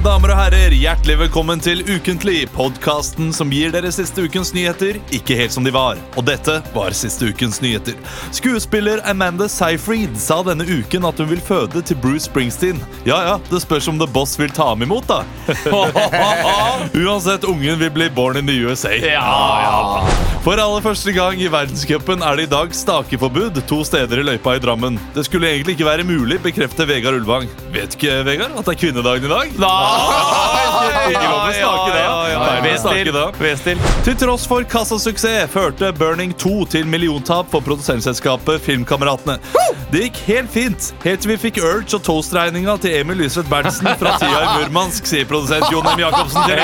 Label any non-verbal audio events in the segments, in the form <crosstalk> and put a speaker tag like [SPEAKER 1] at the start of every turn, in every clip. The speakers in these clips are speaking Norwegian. [SPEAKER 1] damer og herrer, hjertelig velkommen til Ukentlig, podkasten som gir dere siste ukens nyheter ikke helt som de var. Og dette var siste ukens nyheter. Skuespiller Amanda Seyfried sa denne uken at hun vil føde til Bruce Springsteen. Ja ja, det spørs om The Boss vil ta ham imot, da. <laughs> Uansett, ungen vil bli born in the USA. For aller første gang i verdenscupen er det i dag stakeforbud to steder i løypa i Drammen. Det skulle egentlig ikke være mulig, bekrefter Vegard Ulvang. Vet ikke Vegard at det er kvinnedagen i dag? Ikke lov å snakke det. Nei, vi snakker det. Til tross for kassasuksess førte Burning 2 til milliontap for produsentselskapet Filmkameratene. Det gikk helt fint, helt til vi fikk Urge og toastregninga til Emil Lysvedt Berntsen fra tida i Murmansk, sier produsent Jon M. Jacobsen til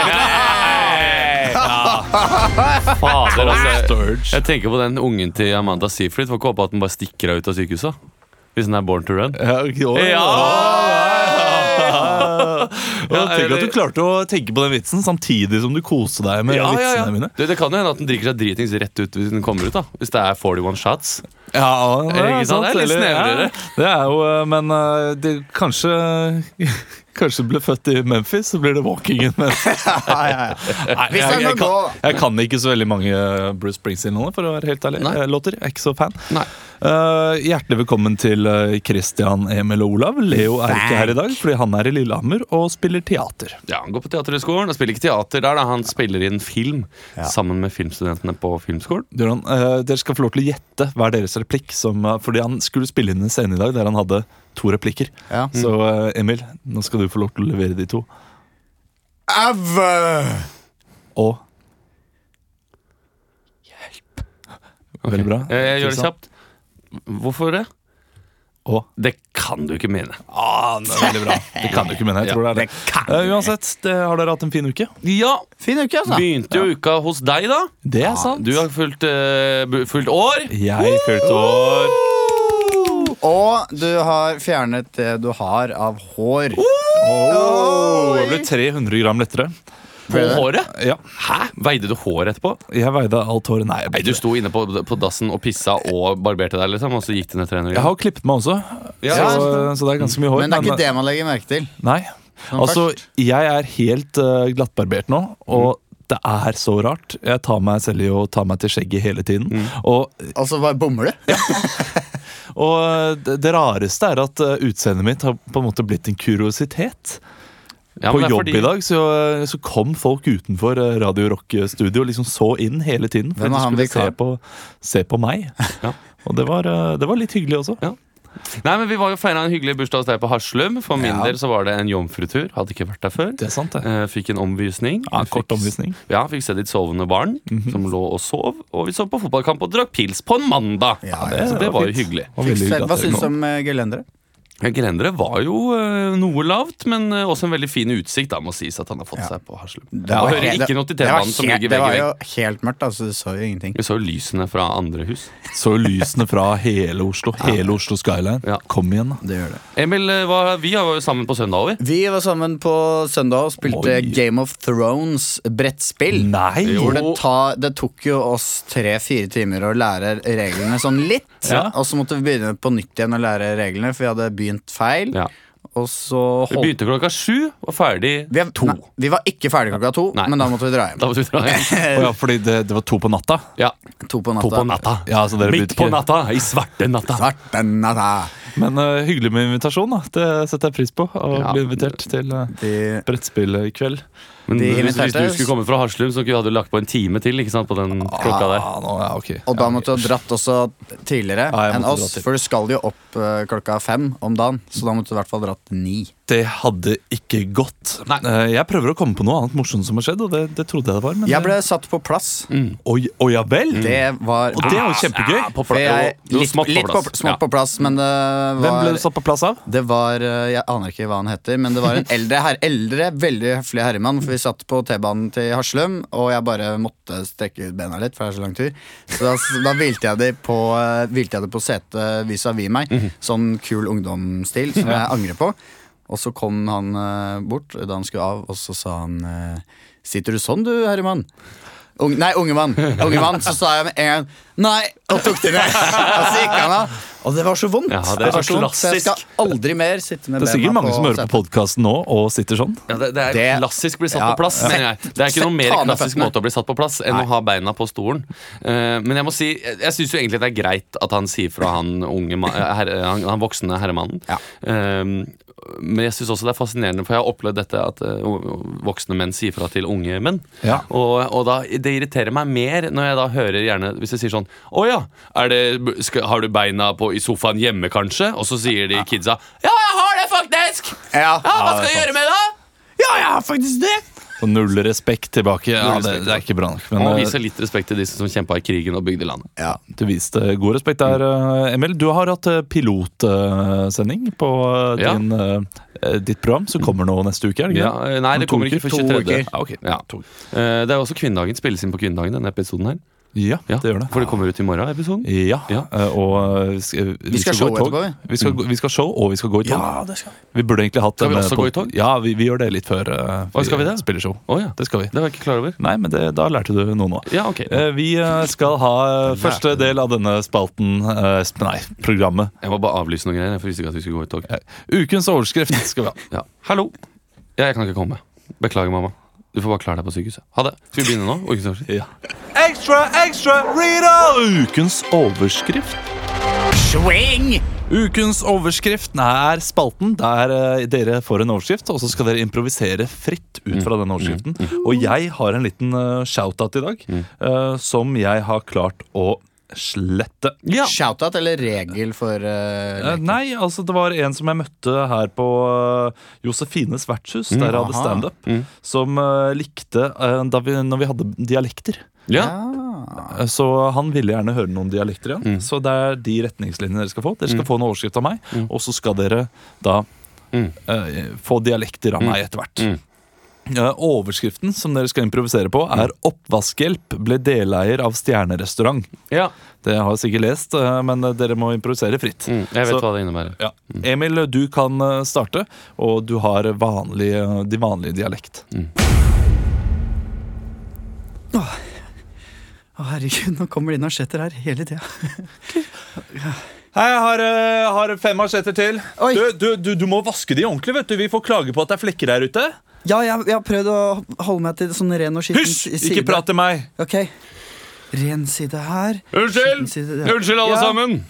[SPEAKER 2] Fader, altså.
[SPEAKER 1] Urge.
[SPEAKER 2] Jeg tenker på den ungen til Amanda Seyfried. Får ikke håpe at den bare stikker av ut av sykehuset. Hvis den er born to run.
[SPEAKER 1] Tenk at du klarte å tenke på den vitsen samtidig som du koste deg med
[SPEAKER 2] Ja, ja, ja.
[SPEAKER 1] vitsene mine.
[SPEAKER 2] Du, det kan jo hende at den drikker seg dritings rett ut hvis den kommer ut. da Hvis det er 41 shots.
[SPEAKER 1] Ja, det
[SPEAKER 2] Ikke sant? Det er litt
[SPEAKER 1] eller-
[SPEAKER 2] snevrere.
[SPEAKER 1] Ja, det er jo, eh, men eh, det, kanskje <laughs> Kanskje du ble født i Memphis, så blir det walkingen. Men
[SPEAKER 2] <laughs>
[SPEAKER 1] Nei, jeg,
[SPEAKER 3] Hvis han
[SPEAKER 1] jeg,
[SPEAKER 3] må
[SPEAKER 1] kan,
[SPEAKER 3] gå.
[SPEAKER 1] jeg kan ikke så veldig mange eh, Bruce Springsteen-låter, for å være helt ærlig.
[SPEAKER 2] Nei.
[SPEAKER 1] Eh, Låter, Jeg er ikke så fan.
[SPEAKER 2] Nei.
[SPEAKER 1] Eh, hjertelig velkommen til eh, Christian, Emil og Olav. Leo er ikke her i dag fordi han er i Lillehammer og spiller teater.
[SPEAKER 2] Ja, Han går på Teaterhøgskolen og spiller ikke teater der. da Han spiller inn film sammen med filmstudentene på filmskolen.
[SPEAKER 1] Bjørn, eh, dere skal få lov til å gjette hver deres replikk. Som, eh, fordi han skulle spille inn en scene i dag der han hadde to replikker.
[SPEAKER 3] Ja.
[SPEAKER 2] Mm.
[SPEAKER 1] Så eh, Emil, nå skal du få lov til å levere de to.
[SPEAKER 3] Ever!
[SPEAKER 1] Og Hjelp. Veldig bra.
[SPEAKER 2] Eh, Jeg, jeg gjør det
[SPEAKER 1] Kristian.
[SPEAKER 2] kjapt. Hvorfor det?
[SPEAKER 1] Og
[SPEAKER 2] Det kan du ikke mene.
[SPEAKER 1] ah, det er Veldig bra. Det kan du ikke mene. Jeg tror det er det. Eh, uansett, det, har dere hatt en fin uke?
[SPEAKER 2] Ja,
[SPEAKER 3] Fin uke, altså.
[SPEAKER 2] Begynte jo uka hos deg, da.
[SPEAKER 1] Det er sant.
[SPEAKER 2] Du har fulgt, eh, bu- fulgt år.
[SPEAKER 1] Jeg fylte år.
[SPEAKER 3] Og du har fjernet det du har av hår.
[SPEAKER 1] Oh, jeg ble 300 gram lettere.
[SPEAKER 2] På håret?
[SPEAKER 1] Ja,
[SPEAKER 2] Hæ? Veide du hår etterpå?
[SPEAKER 1] Jeg veide alt håret. Nei, jeg,
[SPEAKER 2] Nei,
[SPEAKER 1] ble
[SPEAKER 2] Du
[SPEAKER 1] ikke det.
[SPEAKER 2] sto inne på, på dassen og pissa og barberte deg, liksom, og så gikk det ned 300
[SPEAKER 1] jeg har klippet meg også,
[SPEAKER 2] Ja.
[SPEAKER 1] så, så det er ganske mye hår.
[SPEAKER 3] Men det er ikke det Sånn man legger merke til.
[SPEAKER 1] Nei. Altså, jeg er helt eh, glattbarbert nå, og det er så rart. Jeg tar meg selv i å ta meg til skjegget hele tiden.
[SPEAKER 2] Mm.
[SPEAKER 1] Og,
[SPEAKER 3] Og så bare Altså, bommer du.
[SPEAKER 1] og eh, det det rareste er at eh, utseendet mitt har på en måte blitt en kuriositet.
[SPEAKER 2] Ja,
[SPEAKER 1] på
[SPEAKER 2] men det er
[SPEAKER 1] jobb
[SPEAKER 2] fordi-
[SPEAKER 1] i dag så, eh, så kom folk utenfor eh, Radio Rock-studio og liksom så inn hele tiden. For
[SPEAKER 3] Hvem er
[SPEAKER 1] at
[SPEAKER 3] han
[SPEAKER 1] de skulle se
[SPEAKER 3] vikaren?
[SPEAKER 1] på, se på meg.
[SPEAKER 2] Ja.
[SPEAKER 1] Og det var, eh, det var litt hyggelig også.
[SPEAKER 2] Ja. Nei, men Vi var jo feira en hyggelig bursdag hos deg på Haslum. For min
[SPEAKER 3] Ja.
[SPEAKER 2] del så var det en jomfrutur. Hadde ikke vært der før.
[SPEAKER 1] Det er sant, det.
[SPEAKER 2] Eh, Fikk en omvisning.
[SPEAKER 1] Ja, en
[SPEAKER 2] Fikk-
[SPEAKER 1] kort omvisning. Mhm.
[SPEAKER 2] Ja, Fikk se ditt sovende barn, som lå og sov. Og vi så på fotballkamp og drakk pils på en mandag.
[SPEAKER 3] Ja,
[SPEAKER 1] det
[SPEAKER 2] så det
[SPEAKER 1] var
[SPEAKER 2] var jo
[SPEAKER 1] fint.
[SPEAKER 2] hyggelig.
[SPEAKER 1] Og veldig hyggelig at
[SPEAKER 3] Hva
[SPEAKER 1] dere kom.
[SPEAKER 3] syns du om eh, gelendere?
[SPEAKER 2] Ja, Grendere var jo eh, noe lavt, men eh, også en veldig fin utsikt. Da må sies at han har fått seg på Haslum. Og hører ikke noe til
[SPEAKER 3] det var
[SPEAKER 2] T-banen som
[SPEAKER 3] helt-
[SPEAKER 2] ligger vegg
[SPEAKER 3] Det var
[SPEAKER 2] i
[SPEAKER 3] jo
[SPEAKER 2] vegg.
[SPEAKER 3] helt mørkt, altså. Du så jo ingenting.
[SPEAKER 2] Vi så jo lysene fra andre hus.
[SPEAKER 1] Så lysene fra hele Oslo. Hele Oslo skyline.
[SPEAKER 2] Ja.
[SPEAKER 1] Kom igjen, da.
[SPEAKER 3] Det gjør det.
[SPEAKER 2] Emil, eh, var, vi var jo sammen på søndag, vi.
[SPEAKER 3] Vi var sammen på søndag og
[SPEAKER 1] Oi.
[SPEAKER 3] spilte Game of Thrones brettspill.
[SPEAKER 1] Nei!
[SPEAKER 3] Hvor det, ta, det tok jo oss tre-fire timer å lære reglene sånn litt.
[SPEAKER 1] Ja.
[SPEAKER 3] Og så måtte vi begynne på nytt igjen å lære reglene, for vi hadde begynt feil.
[SPEAKER 2] Ja.
[SPEAKER 3] Og så
[SPEAKER 2] Vi
[SPEAKER 3] holdt
[SPEAKER 2] begynte klokka sju og ferdig
[SPEAKER 3] vi, er,
[SPEAKER 2] to.
[SPEAKER 3] Nei, vi var ikke ferdig klokka to,
[SPEAKER 2] Nei.
[SPEAKER 3] men da måtte vi dra hjem.
[SPEAKER 2] Da måtte vi dra hjem.
[SPEAKER 3] <laughs>
[SPEAKER 1] Å ja, fordi det, det var to på natta?
[SPEAKER 2] Ja.
[SPEAKER 3] To på natta.
[SPEAKER 2] To på natta.
[SPEAKER 1] Ja, så dere begynte
[SPEAKER 2] Midt på
[SPEAKER 1] ikke-
[SPEAKER 2] natta, i svarte natta.
[SPEAKER 3] Svarte natta.
[SPEAKER 1] Men eh, hyggelig med invitasjon, da. Det setter jeg pris på. Å
[SPEAKER 2] Ja.
[SPEAKER 1] bli invitert til uh,
[SPEAKER 3] De-
[SPEAKER 1] brettspill i kveld.
[SPEAKER 2] Men
[SPEAKER 3] De
[SPEAKER 2] hvis, hvis
[SPEAKER 3] inviterte
[SPEAKER 2] du
[SPEAKER 3] oss.
[SPEAKER 2] skulle komme fra Haslum, så hadde du lagt på en time til ikke sant, på den klokka der.
[SPEAKER 1] Ah, nå, ja, ok.
[SPEAKER 3] Og da måtte du ha dratt også tidligere
[SPEAKER 1] Ja, jeg
[SPEAKER 3] enn
[SPEAKER 1] måtte
[SPEAKER 3] oss,
[SPEAKER 1] dra tidlig.
[SPEAKER 3] for du skal jo opp eh, klokka fem om dagen. Så da måtte du i hvert fall dratt ni.
[SPEAKER 1] Det hadde ikke gått.
[SPEAKER 2] Nei.
[SPEAKER 1] Eh, jeg prøver å komme på noe annet morsomt som har skjedd, og det, det trodde jeg det var. Men eh,
[SPEAKER 3] Jeg ble satt på plass.
[SPEAKER 2] Mhm.
[SPEAKER 1] Oi, oi, ja vel?
[SPEAKER 3] Det var
[SPEAKER 1] Og det er jo kjempegøy.
[SPEAKER 2] Ja, på
[SPEAKER 3] For
[SPEAKER 2] pla-
[SPEAKER 3] jeg,
[SPEAKER 2] jo, jo,
[SPEAKER 3] litt,
[SPEAKER 2] smått på
[SPEAKER 3] litt på,
[SPEAKER 2] plass.
[SPEAKER 3] smått
[SPEAKER 2] Ja.
[SPEAKER 3] på plass, men det var
[SPEAKER 1] Hvem ble du satt på plass av?
[SPEAKER 3] Det var, eh, Jeg aner ikke hva han heter, men det var <laughs> en eldre, her, eldre veldig høflig herremann. For vi satt på T-banen til Haslum, og jeg bare måtte strekke ut bena litt. For det er Så lang tur Så da, da hvilte jeg det på, eh, hvilte jeg det på setet vis-à-vis meg. Sånn kul ungdomsstil som jeg angrer på. Og så kom han eh, bort da han skulle av, og så sa han eh, Sitter du sånn du, herremann? Ung- nei, unge mann. Unge mann, så sa jeg med en gang nei, og tok det <laughs> ned. Og så gikk han av. Og det var så vondt.
[SPEAKER 2] Ja, det er
[SPEAKER 3] var
[SPEAKER 2] så
[SPEAKER 3] vondt, så jeg skal
[SPEAKER 2] klassisk.
[SPEAKER 3] aldri mer sitte med
[SPEAKER 1] Det er sikkert mange som hører på podkasten nå og sitter sånn.
[SPEAKER 2] Ja, det, det er
[SPEAKER 3] Det-
[SPEAKER 2] klassisk bli satt
[SPEAKER 3] ja.
[SPEAKER 2] på plass.
[SPEAKER 3] Sett-
[SPEAKER 2] mener jeg. Det er ikke
[SPEAKER 3] sett-
[SPEAKER 2] noen mer
[SPEAKER 3] ta ned
[SPEAKER 2] klassisk
[SPEAKER 3] føttene.
[SPEAKER 2] måte å bli satt på plass enn å ha beina på stolen. Eh, men jeg må si, jeg, jeg syns jo egentlig det er greit at han sier fra han, unge, ma- eh, herre, han, han voksne herremannen.
[SPEAKER 3] Ja.
[SPEAKER 2] Eh, men jeg syns også det er fascinerende, for jeg har opplevd dette at eh, o- voksne menn sier fra til unge menn.
[SPEAKER 1] Ja.
[SPEAKER 2] Og, og da, det irriterer meg mer når jeg da hører gjerne Hvis jeg sier sånn Å ja, er det, skal, har du beina på, i sofaen hjemme, kanskje? Og så sier de kidsa Ja, jeg har det, faktisk!
[SPEAKER 3] Ja.
[SPEAKER 2] Ja, hva
[SPEAKER 1] Ja, det er
[SPEAKER 2] skal jeg gjøre med det? da?
[SPEAKER 1] Ja, jeg har faktisk det! Og null respekt tilbake. Ja,
[SPEAKER 2] Null
[SPEAKER 1] det,
[SPEAKER 2] respekt,
[SPEAKER 1] det er ikke bra nok.
[SPEAKER 2] Man
[SPEAKER 1] Men
[SPEAKER 2] må
[SPEAKER 1] eh,
[SPEAKER 2] vise litt respekt til de som kjempa i krigen og bygde landet.
[SPEAKER 3] Ja.
[SPEAKER 1] du viste god respekt der, eh, Emil. Du har hatt pilotsending på eh,
[SPEAKER 2] Ja.
[SPEAKER 1] din, eh, ditt program, som kommer nå neste uke, er det
[SPEAKER 2] Ja,
[SPEAKER 1] ikke? det?
[SPEAKER 2] eh, nei,
[SPEAKER 1] Om
[SPEAKER 2] det
[SPEAKER 1] to
[SPEAKER 2] kommer ikke
[SPEAKER 1] uker?
[SPEAKER 2] før
[SPEAKER 1] To
[SPEAKER 2] 23.
[SPEAKER 1] uker. Ah, ok.
[SPEAKER 2] Ja. Eh, Det er også kvinnedagen. Spilles inn på kvinnedagen, denne episoden her.
[SPEAKER 1] Ja,
[SPEAKER 2] Ja,
[SPEAKER 1] det gjør det.
[SPEAKER 2] For det kommer ut i morgen, episoden.
[SPEAKER 1] Ja,
[SPEAKER 2] Ja.
[SPEAKER 1] eh, og eh, sk- eh,
[SPEAKER 3] Vi skal
[SPEAKER 1] gå i
[SPEAKER 3] show
[SPEAKER 1] tog.
[SPEAKER 3] etterpå,
[SPEAKER 1] Vi skal, gå- vi skal show, og vi skal gå i tog.
[SPEAKER 3] det skal vi.
[SPEAKER 1] Vi burde egentlig hatt
[SPEAKER 2] Skal vi
[SPEAKER 1] en, eh,
[SPEAKER 2] også
[SPEAKER 1] pod-
[SPEAKER 2] gå i tog?
[SPEAKER 1] Ja, vi, vi gjør det litt før eh,
[SPEAKER 2] Hva, skal vi det?
[SPEAKER 1] spiller show.
[SPEAKER 2] Å ja.
[SPEAKER 1] Det skal vi.
[SPEAKER 2] Det var jeg ikke klar over.
[SPEAKER 1] Nei, men det, da lærte du noe nå.
[SPEAKER 2] Ja, ok.
[SPEAKER 1] Eh, Vi eh, skal ha eh, første del av denne spalten eh, sp- Nei, programmet.
[SPEAKER 2] Jeg må bare avlyse noen greier. For jeg visste ikke at vi skulle gå i tog.
[SPEAKER 1] Eh, Ukens overskrift skal vi ha.
[SPEAKER 2] Ja. Hallo. Ja, jeg kan ikke komme. Beklager, mamma. Du får bare klare deg på sykehuset. Ha det. Skal vi begynne nå? Oi, ikke sant?
[SPEAKER 1] Ja. Ekstra, ekstra, Rita! Ukens overskrift.
[SPEAKER 3] Swing!
[SPEAKER 1] Ukens overskrift er spalten der eh, dere får en overskrift, og så skal dere improvisere fritt ut fra den overskriften. Og jeg har en liten eh, shout-out i dag, eh, som jeg har klart å slette.
[SPEAKER 2] Ja.
[SPEAKER 3] Shoutout eller regel for eh,
[SPEAKER 1] Eh,
[SPEAKER 3] leken?
[SPEAKER 1] Nei, altså det var en som jeg møtte her på eh, Josefines vertshus, der jeg hadde
[SPEAKER 3] Aha.
[SPEAKER 1] standup, som eh, likte eh, da vi, når vi hadde dialekter.
[SPEAKER 2] ja.
[SPEAKER 3] Ah.
[SPEAKER 1] Eh, Så han ville gjerne høre noen dialekter igjen.
[SPEAKER 2] Mm.
[SPEAKER 1] Så det er de retningslinjene dere skal få. Dere skal få en overskrift av meg, og så skal dere da
[SPEAKER 2] Mm.
[SPEAKER 1] eh, få dialekter av meg etter hvert. Eh, overskriften som dere skal improvisere på, er
[SPEAKER 2] Mm.
[SPEAKER 1] 'Oppvaskhjelp ble deleier av stjernerestaurant'.
[SPEAKER 2] ja.
[SPEAKER 1] Det har jeg sikkert lest, eh, men dere må improvisere fritt.
[SPEAKER 2] Mm, jeg vet
[SPEAKER 1] Så-
[SPEAKER 2] hva det innebærer.
[SPEAKER 1] ja. Emil, du kan eh, starte, og du har vanlig, eh, de vanlige dialekt.
[SPEAKER 3] Å, herregud, nå kommer det inn asjetter her hele tida.
[SPEAKER 1] Hei, jeg har, eh, har fem machetter til.
[SPEAKER 3] Oi.
[SPEAKER 1] Du, du, du, du må vaske de ordentlig. vet du Vi får klage på at det er flekker der ute.
[SPEAKER 3] Ja, jeg, jeg har prøvd å holde meg til sånn ren og skitten
[SPEAKER 1] Hysj!
[SPEAKER 3] si-
[SPEAKER 1] Ikke
[SPEAKER 3] side.
[SPEAKER 1] prat til meg.
[SPEAKER 3] Ok. Ren side her. skitten side der.
[SPEAKER 2] Unnskyld, alle
[SPEAKER 3] Ja.
[SPEAKER 2] sammen!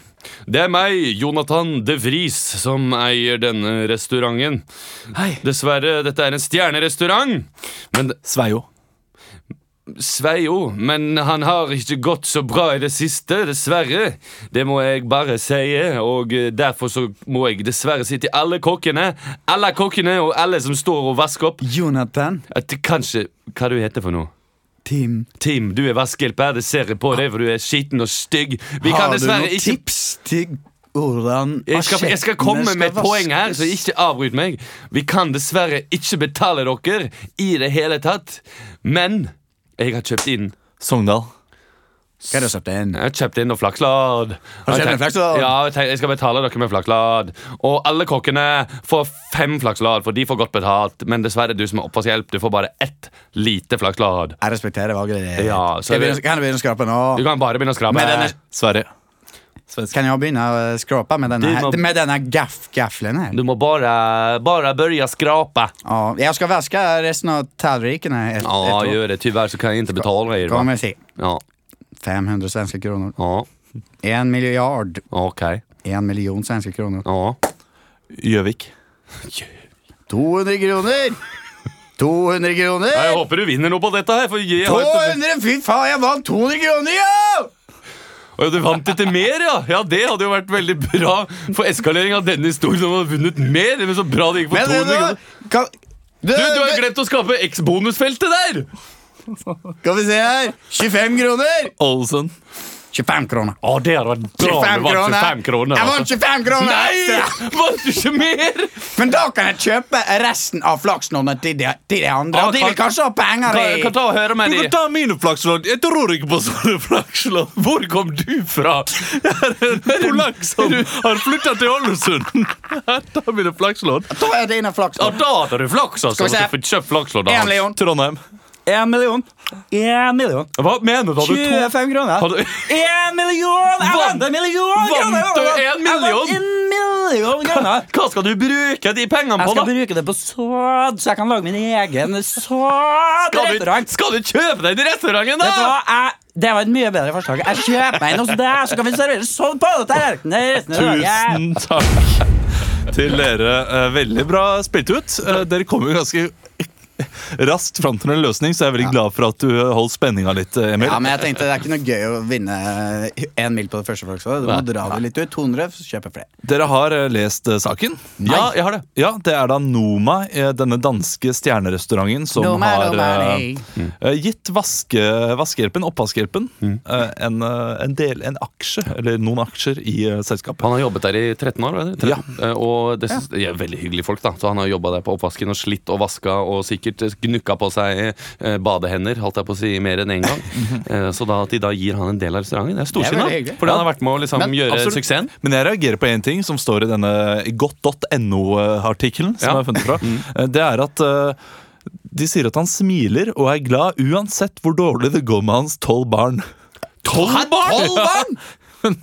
[SPEAKER 2] Det er meg, Jonathan de Vries, som eier denne restauranten.
[SPEAKER 3] Hei.
[SPEAKER 2] Dessverre, dette er en stjernerestaurant. Men
[SPEAKER 1] Sveio.
[SPEAKER 2] Sveio, men han har ikke gått så bra i det siste, dessverre. Det må jeg bare si, og eh, derfor så må jeg dessverre si til alle kokkene, alle kokkene og alle som står og vasker opp,
[SPEAKER 3] Jonathan.
[SPEAKER 2] at det kanskje Hva du heter for noe?
[SPEAKER 3] Team.
[SPEAKER 2] Tim, du er vaskehjelp her, det ser jeg på deg, for du er skitten og stygg. Vi kan
[SPEAKER 3] Har du
[SPEAKER 2] dessverre
[SPEAKER 3] noen
[SPEAKER 2] ikke
[SPEAKER 3] tips Ah, til hvordan
[SPEAKER 2] jeg skal, jeg skal komme
[SPEAKER 3] asjettene
[SPEAKER 2] med et
[SPEAKER 3] skal
[SPEAKER 2] poeng her,
[SPEAKER 3] vaskes?
[SPEAKER 2] så ikke avbryt meg. Vi kan dessverre ikke betale dere i det hele tatt, men jeg har kjøpt inn
[SPEAKER 1] Sogndal.
[SPEAKER 3] Hva er det som er den?
[SPEAKER 2] jeg har kjøpt inn noe flakslodd.
[SPEAKER 3] Har du kjøpt inn flakslodd?
[SPEAKER 2] Ja, jeg, tenk, jeg skal betale dere med flakslodd. Og alle kokkene får fem flakslodd, for de får godt betalt. Men dessverre, du som er oppvaskehjelp, du får bare ett lite flakslodd.
[SPEAKER 3] Jeg respekterer valget ditt.
[SPEAKER 2] Ja, så
[SPEAKER 3] Skal jeg
[SPEAKER 2] vi-
[SPEAKER 3] begynne- kan jeg begynne å skrape nå?
[SPEAKER 2] Du kan bare begynne å skrape.
[SPEAKER 3] Men den er-
[SPEAKER 1] Sverige.
[SPEAKER 3] Kan jeg begynne å skrape med denne,
[SPEAKER 2] Du
[SPEAKER 3] her-
[SPEAKER 2] må-
[SPEAKER 3] med denne gaff, gaffelen her?
[SPEAKER 2] Du må bare, bare begynne å skrape.
[SPEAKER 3] Ja, jeg skal vaske resten av tallrikene. Et,
[SPEAKER 2] Ja, gjør det. Tyvärr så kan jeg ikke betale deg.
[SPEAKER 3] Kommer
[SPEAKER 2] va?
[SPEAKER 3] jeg si.
[SPEAKER 2] Ja,
[SPEAKER 3] 500 svenske kroner.
[SPEAKER 2] ja,
[SPEAKER 3] En milliard.
[SPEAKER 2] ok.
[SPEAKER 3] En million svenske kroner.
[SPEAKER 2] Ja.
[SPEAKER 1] Gjøvik.
[SPEAKER 3] 200 kroner! 200
[SPEAKER 2] Jeg
[SPEAKER 3] kroner!
[SPEAKER 2] håper du vinner noe på dette her, for jeg har ikke
[SPEAKER 3] 200! Fy faen, jeg vant 200 kroner, jo!
[SPEAKER 2] Å, ja, Du vant etter mer, ja! Ja, Det hadde jo vært veldig bra for eskalering av denne historien. om Du hadde vunnet mer, men så bra det gikk på
[SPEAKER 3] Men
[SPEAKER 2] 200
[SPEAKER 3] du,
[SPEAKER 2] kroner.
[SPEAKER 3] kan, du,
[SPEAKER 2] Du, du har glemt å skape X-bonusfeltet der!
[SPEAKER 3] Skal vi se her. 25 kroner!
[SPEAKER 1] Ålesund.
[SPEAKER 3] 25 kroner.
[SPEAKER 2] Å, det hadde vært bra
[SPEAKER 3] 25 kroner. Jeg vant 25 kroner!
[SPEAKER 2] Nei! Vant du ikke mer?
[SPEAKER 3] Men da kan jeg kjøpe resten av flaksnålene til de, til de andre.
[SPEAKER 2] Ja,
[SPEAKER 3] og de vil
[SPEAKER 2] kan-
[SPEAKER 3] kanskje ha penger
[SPEAKER 2] Kan,
[SPEAKER 3] i
[SPEAKER 2] kan ta og høre
[SPEAKER 1] Du
[SPEAKER 2] med
[SPEAKER 1] kan
[SPEAKER 2] de.
[SPEAKER 1] ta mine flakslodd. Jeg tror ikke på sånne flakslodd.
[SPEAKER 2] Hvor kom du fra?
[SPEAKER 1] Polakk som har flytta til Ålesund. Her tar mine flakslodd.
[SPEAKER 3] Ta dine
[SPEAKER 2] Ja,
[SPEAKER 3] flaksnåler.
[SPEAKER 2] da hadde du flaks, altså.
[SPEAKER 3] Skal vi se.
[SPEAKER 2] at du fikk kjøpt flakslodd av
[SPEAKER 3] En
[SPEAKER 2] hans.
[SPEAKER 3] million.
[SPEAKER 1] Trondheim.
[SPEAKER 3] Én million. Én million.
[SPEAKER 2] Hva mener du? Har du to
[SPEAKER 3] 25 kroner.
[SPEAKER 2] Har du-
[SPEAKER 3] Én million! Jeg
[SPEAKER 2] Vant-
[SPEAKER 3] vant en million
[SPEAKER 2] vant
[SPEAKER 3] kroner!
[SPEAKER 2] du
[SPEAKER 3] Jeg
[SPEAKER 2] en
[SPEAKER 3] vant
[SPEAKER 2] million?
[SPEAKER 3] En
[SPEAKER 2] <laughs>
[SPEAKER 3] million kroner.
[SPEAKER 2] Hva skal du bruke de pengene
[SPEAKER 3] Jeg
[SPEAKER 2] på, da?
[SPEAKER 3] skal bruke det på sådd, så jeg kan lage min
[SPEAKER 2] Skal
[SPEAKER 3] egen
[SPEAKER 2] du,
[SPEAKER 3] sådd-restaurant.
[SPEAKER 2] skal du kjøpe deg til restauranten,
[SPEAKER 3] Vet du
[SPEAKER 2] da?
[SPEAKER 3] hva? Jeg, det var et mye bedre forslag. Jeg kjøper meg inn hos deg, så kan vi servere sådd på tallerkenen resten av dagen.
[SPEAKER 1] Tusen takk til dere. Eh, Veldig bra spilt ut. Eh, Dere kom jo ganske <laughs> raskt fram til en løsning, så jeg er veldig glad for at du eh, holdt spenninga litt, eh, Emil.
[SPEAKER 3] Ja, men jeg tenkte Det er ikke noe gøy å vinne én mil på det første forsøket. Du må
[SPEAKER 2] Nei.
[SPEAKER 3] dra det litt ut. 200, så kjøper jeg flere.
[SPEAKER 1] Dere har eh, lest eh, saken?
[SPEAKER 2] Ja, jeg har det.
[SPEAKER 1] Ja, det er da Noma, eh, denne danske stjernerestauranten som
[SPEAKER 3] Noma,
[SPEAKER 1] har
[SPEAKER 3] Noma,
[SPEAKER 1] eh, eh, gitt vaske, vaskehjelpen, oppvaskehjelpen, eh, en, eh, en, del, en aksje, eller noen aksjer, i eh, selskapet.
[SPEAKER 2] Han har jobbet der i 13 år. vet du?
[SPEAKER 1] Ja.
[SPEAKER 2] 13. Eh, Og det synes, de er veldig hyggelige folk. da Så Han har jobba der på oppvasken og slitt og vaska og sikkert gnukka på seg eh, badehender Holdt jeg på å si mer enn én <laughs> en gang. Eh, Så da at de da gir han en del av restauranten, det er
[SPEAKER 3] Det er veldig
[SPEAKER 2] storsinna.
[SPEAKER 3] hyggelig.
[SPEAKER 2] Fordi han har vært med å liksom
[SPEAKER 3] Men,
[SPEAKER 2] gjøre
[SPEAKER 1] absolutt.
[SPEAKER 2] suksessen.
[SPEAKER 1] Men jeg reagerer på én ting som står i denne godt.no-artikkelen. Som
[SPEAKER 2] Ja. Mm.
[SPEAKER 1] jeg har funnet fra Eh, Det er at eh, de sier at han smiler og er glad uansett hvor dårlig det går med hans tolv barn. Tolv
[SPEAKER 3] Tolv barn!
[SPEAKER 1] <laughs>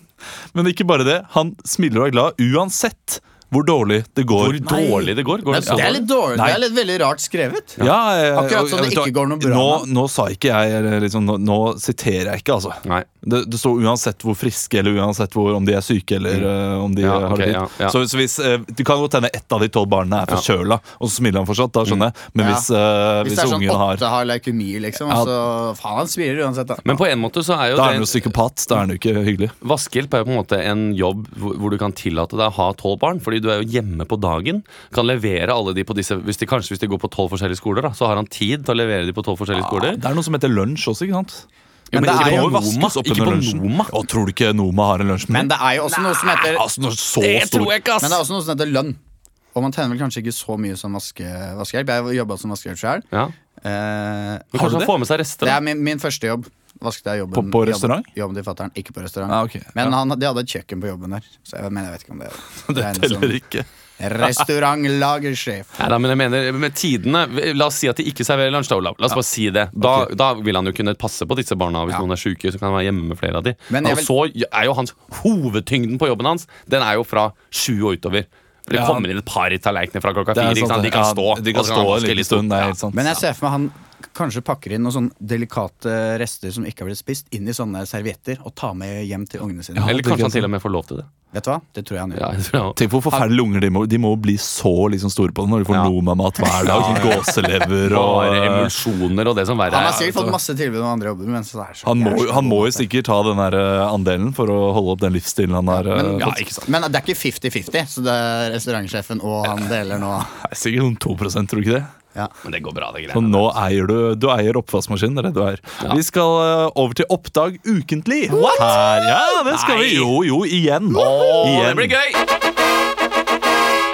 [SPEAKER 1] Men ikke bare det, han smiler og er glad uansett hvor dårlig det går.
[SPEAKER 2] Hvor dårlig det går. går det, sånn? så
[SPEAKER 3] Det er
[SPEAKER 2] dårlig?
[SPEAKER 3] litt dårlig.
[SPEAKER 1] Nei.
[SPEAKER 3] Det er litt veldig rart skrevet.
[SPEAKER 1] Ja, jeg-
[SPEAKER 3] Akkurat som
[SPEAKER 1] jeg-
[SPEAKER 3] det
[SPEAKER 1] vet du hva,
[SPEAKER 3] ikke går noe bra
[SPEAKER 1] Nå, nå sa ikke jeg eller liksom, nå, nå siterer jeg ikke, altså.
[SPEAKER 2] Nei.
[SPEAKER 1] Det, det står uansett hvor friske eller uansett hvor, om de er syke eller eh, om de
[SPEAKER 2] Ja,
[SPEAKER 1] har
[SPEAKER 2] ok,
[SPEAKER 1] det fint.
[SPEAKER 2] ja, ja.
[SPEAKER 1] Så, så hvis eh, Det kan godt hende ett av de tolv barna er forkjøla, og så smiler han fortsatt. Da skjønner jeg. Men
[SPEAKER 3] Ja.
[SPEAKER 1] hvis, eh,
[SPEAKER 3] Hvis
[SPEAKER 1] hvis,
[SPEAKER 3] det er sånn
[SPEAKER 1] ungen har
[SPEAKER 3] åtte har leukemi, liksom,
[SPEAKER 1] Ja.
[SPEAKER 3] så faen, han smiler uansett, da.
[SPEAKER 2] Men på en måte så er jo
[SPEAKER 1] Da er han jo
[SPEAKER 2] det
[SPEAKER 1] psykopat. Da er han jo ikke hyggelig.
[SPEAKER 2] Vaskehjelp er jo på en måte en jobb hvor hvor du kan tillate deg å ha tolv barn. Fordi du er jo hjemme på dagen. Kan levere alle de på disse hvis de, Kanskje hvis de går på tolv forskjellige skoler, da, så har han tid til å levere de på tolv forskjellige skoler.
[SPEAKER 1] Det er noe som heter lunsj også, ikke sant?
[SPEAKER 2] Jo, men
[SPEAKER 3] det
[SPEAKER 2] ikke
[SPEAKER 3] er
[SPEAKER 2] på
[SPEAKER 3] jo
[SPEAKER 2] Noma, ikke på Noma.
[SPEAKER 1] Og tror du ikke Noma har en lunsjmeny?
[SPEAKER 3] Men det er jo også noe som heter
[SPEAKER 1] Altså, når så stor
[SPEAKER 2] jeg ikke,
[SPEAKER 3] Men det er også noe som heter lønn. Og man tjener vel kanskje ikke så mye som vaske, vaskehjelp. Jeg jobba som vaskehjelp sjøl.
[SPEAKER 2] Ja. Men kanskje han får med seg
[SPEAKER 3] det
[SPEAKER 2] rester? da?
[SPEAKER 3] er min, min første jobb. Vasket jeg jobben
[SPEAKER 1] På- på restaurant?
[SPEAKER 3] Jobben, jobben til fatteren. Ikke på restaurant.
[SPEAKER 1] Ah, ok.
[SPEAKER 3] Men han, de hadde et kjøkken på jobben der. Så jeg, men jeg vet ikke om det
[SPEAKER 1] <laughs>
[SPEAKER 3] sånn-
[SPEAKER 1] Det
[SPEAKER 3] regnes som
[SPEAKER 1] teller ikke.
[SPEAKER 3] Restaurantlagersjef.
[SPEAKER 2] Nei, da, men jeg mener, med tidene La oss si at de ikke serverer lunsj, da, Olav. La oss bare si det. Da, da vil han jo kunne passe på disse barna. Hvis
[SPEAKER 3] Ja.
[SPEAKER 2] noen er syke, så kan han være hjemme med flere av de.
[SPEAKER 3] Men jeg
[SPEAKER 2] Og så er jo hans hovedtyngden på jobben hans Den er jo fra sju og utover. For det
[SPEAKER 1] Ja.
[SPEAKER 2] kommer inn et par i tallerkener fra klokka
[SPEAKER 1] Det
[SPEAKER 2] fire.
[SPEAKER 1] er
[SPEAKER 2] ikke sant?
[SPEAKER 1] sant,
[SPEAKER 2] De kan
[SPEAKER 1] ja.
[SPEAKER 2] stå.
[SPEAKER 1] De kan
[SPEAKER 2] Og så han
[SPEAKER 1] stå en
[SPEAKER 2] vaske
[SPEAKER 1] liten
[SPEAKER 2] litt
[SPEAKER 1] stund. Det er
[SPEAKER 2] opp.
[SPEAKER 1] helt sant.
[SPEAKER 3] Men jeg ser for meg han kanskje pakker inn noen sånn delikate rester som ikke har blitt spist, inn i sånne servietter og tar med hjem til ungene sine.
[SPEAKER 2] Ja. Eller
[SPEAKER 1] det kan
[SPEAKER 2] kanskje han
[SPEAKER 1] stå.
[SPEAKER 2] til og med får lov til det.
[SPEAKER 3] Vet du hva? Det tror jeg han gjør.
[SPEAKER 2] Ja, jeg tror jeg også.
[SPEAKER 1] Tenk hvor forferdelige unger de må De må bli så liksom store på det når de får
[SPEAKER 2] Ja.
[SPEAKER 1] Noma-mat hver dag. Gåselever og
[SPEAKER 2] Bare emulsjoner og det som verre
[SPEAKER 3] Han
[SPEAKER 2] er.
[SPEAKER 3] har
[SPEAKER 2] altså.
[SPEAKER 3] sikkert fått masse tilbud om andre jobber. Men så er det sånn. så
[SPEAKER 1] han må,
[SPEAKER 3] jævlig
[SPEAKER 1] jo- han må
[SPEAKER 3] god
[SPEAKER 1] jo sikkert ta den der eh, andelen for å holde opp den livsstilen han har. eh,
[SPEAKER 3] Men,
[SPEAKER 1] fått.
[SPEAKER 3] men det er ikke 50-50, så det er restaurantsjefen og han deler nå.
[SPEAKER 1] Det er sikkert noen 2 tror du ikke det?
[SPEAKER 2] Men det går bra, det
[SPEAKER 1] Og
[SPEAKER 2] greiene.
[SPEAKER 1] nå eier du Du eier oppvaskmaskinen. Det er det du eier. Vi skal eh, over til Oppdag ukentlig. Her, ja, det skal vi.
[SPEAKER 2] Nei.
[SPEAKER 1] Jo, jo, igjen.
[SPEAKER 2] Å, det
[SPEAKER 1] igjen.
[SPEAKER 2] blir gøy!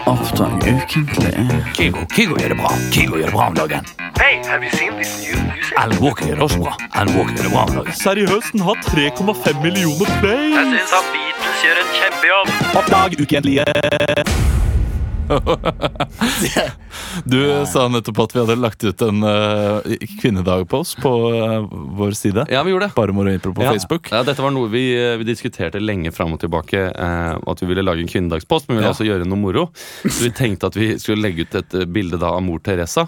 [SPEAKER 3] Oppdag ukentlig.
[SPEAKER 4] Kigo, Kigo gjør det bra. Kigo gjør det bra om dagen.
[SPEAKER 5] Hey, have you seen this new music?
[SPEAKER 4] Alan Walker gjør det også bra. Alan Walker gjør det bra om dagen.
[SPEAKER 1] Seriøst, den har 3,5 millioner play.
[SPEAKER 5] Syns at Beatles gjør en kjempejobb.
[SPEAKER 1] Oppdag ukentlige. <laughs> Du sa nettopp at vi hadde lagt ut en uh, kvinnedag-post på eh, vår side.
[SPEAKER 2] Ja, vi gjorde det.
[SPEAKER 1] Bare moro impro på
[SPEAKER 2] Ja.
[SPEAKER 1] Facebook.
[SPEAKER 2] Ja, dette var noe vi, eh, vi diskuterte lenge fram og tilbake. Eh, at vi ville lage en kvinnedagspost, men vi ville
[SPEAKER 1] Ja.
[SPEAKER 2] også gjøre noe moro. Så vi tenkte at vi skulle legge ut et eh, bilde da av mor Teresa.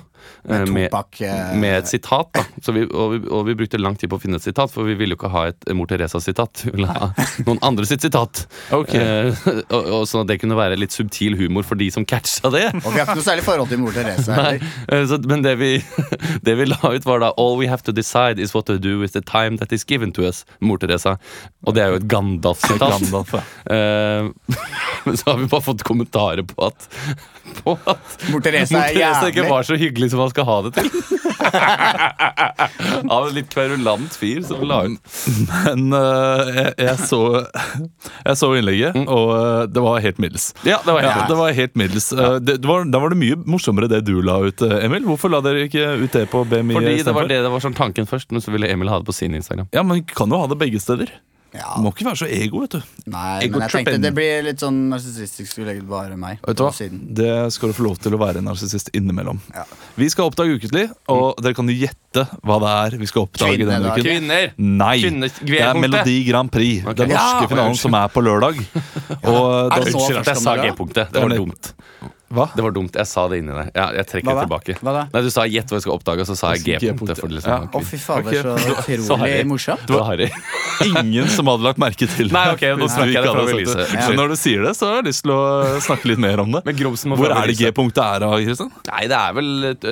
[SPEAKER 2] eh, med,
[SPEAKER 3] Topak eh,
[SPEAKER 2] med et sitat. da så vi, og, vi, og vi brukte lang tid på å finne et sitat, for vi ville jo ikke ha et eh, mor Teresa-sitat. Vi ville ha noen andre sitt sitat.
[SPEAKER 1] Ok.
[SPEAKER 2] Eh, og, og Sånn at det kunne være litt subtil humor for de som catcha det.
[SPEAKER 3] Og vi har ikke noe særlig forhold til mor Therese.
[SPEAKER 2] Nei,
[SPEAKER 3] heller.
[SPEAKER 2] eh, så, men det vi, <laughs> det vi la ut, var da All we have to decide is what to do with the time that is given to us. Mor Teresa. Og det er jo et Gandalf-sitat.
[SPEAKER 1] Gandalf,
[SPEAKER 2] <laughs>
[SPEAKER 1] ja.
[SPEAKER 2] Eh, <laughs> Men så har vi bare fått kommentarer på at På at
[SPEAKER 3] Mor Therese
[SPEAKER 2] Mor
[SPEAKER 3] er
[SPEAKER 2] Teresa ikke
[SPEAKER 3] jævlig.
[SPEAKER 2] var så hyggelig som han skal ha det til.
[SPEAKER 3] <laughs>
[SPEAKER 2] Av en litt kverulant fyr som la ut
[SPEAKER 1] Men eh, jeg, jeg, så, <laughs> jeg så innlegget, og eh, det var helt middels.
[SPEAKER 2] Mm. Ja, det var
[SPEAKER 1] Ja, det var helt middels. Eh, det, det var, da var det mye morsommere det du la ut, eh, Emil. Hvorfor la dere ikke ut det på BMI?
[SPEAKER 2] Fordi det var
[SPEAKER 1] istedenfor?
[SPEAKER 2] det det var sånn tanken først, men så ville Emil ha det på sin Instagram.
[SPEAKER 1] Ja, men kan jo ha det begge steder.
[SPEAKER 3] Ja.
[SPEAKER 1] Du må ikke være så ego, vet du.
[SPEAKER 3] Nei,
[SPEAKER 1] Ego
[SPEAKER 3] men jeg tenkte
[SPEAKER 1] tripping.
[SPEAKER 3] det blir litt sånn narsissistisk skulle legge bare meg
[SPEAKER 1] Vet du hva?
[SPEAKER 3] på siden.
[SPEAKER 1] Det skal du få lov til å være en narsissist innimellom.
[SPEAKER 3] Ja.
[SPEAKER 1] Vi skal oppdage ukentlig, og dere kan gjette hva det er vi skal oppdage denne uken.
[SPEAKER 3] Kvinnedag.
[SPEAKER 2] Mm. Kvinner!
[SPEAKER 1] Nei,
[SPEAKER 2] Kvinne-
[SPEAKER 1] det er Melodi Grand Prix. Den norske
[SPEAKER 3] Ja,
[SPEAKER 1] finalen som er på
[SPEAKER 3] <laughs>
[SPEAKER 1] lørdag. Og da,
[SPEAKER 3] Er det så
[SPEAKER 2] Unnskyld at jeg sa
[SPEAKER 3] første omgang?
[SPEAKER 2] G-punktet. Det var
[SPEAKER 1] Eller-
[SPEAKER 2] dumt.
[SPEAKER 1] hva?
[SPEAKER 2] Det var dumt, Jeg sa det inni deg. Ja, jeg trekker
[SPEAKER 3] Hva da?
[SPEAKER 2] tilbake.
[SPEAKER 3] Hva da?
[SPEAKER 2] Nei, Du sa 'gjett hva jeg skal oppdage', og så sa jeg
[SPEAKER 1] G-punktet.
[SPEAKER 2] G-punktet. for det
[SPEAKER 1] Ja.
[SPEAKER 2] liksom,
[SPEAKER 3] Å, fy fader, så
[SPEAKER 2] Så harry.
[SPEAKER 3] utrolig morsomt.
[SPEAKER 2] Det var harry.
[SPEAKER 1] <laughs> Ingen som hadde lagt merke til det.
[SPEAKER 2] Nei, ok, nå
[SPEAKER 1] hvis du
[SPEAKER 2] snakker jeg
[SPEAKER 1] ikke
[SPEAKER 2] det fra
[SPEAKER 1] hadde
[SPEAKER 2] Elise.
[SPEAKER 1] sett det.
[SPEAKER 2] Ja.
[SPEAKER 1] Så når du sier det, så har jeg lyst til å snakke litt mer om det.
[SPEAKER 2] Men Gromsen må
[SPEAKER 1] Hvor
[SPEAKER 2] fra
[SPEAKER 1] er det
[SPEAKER 2] Elise.
[SPEAKER 1] G-punktet er av, Kristian?
[SPEAKER 2] Nei, det er vel,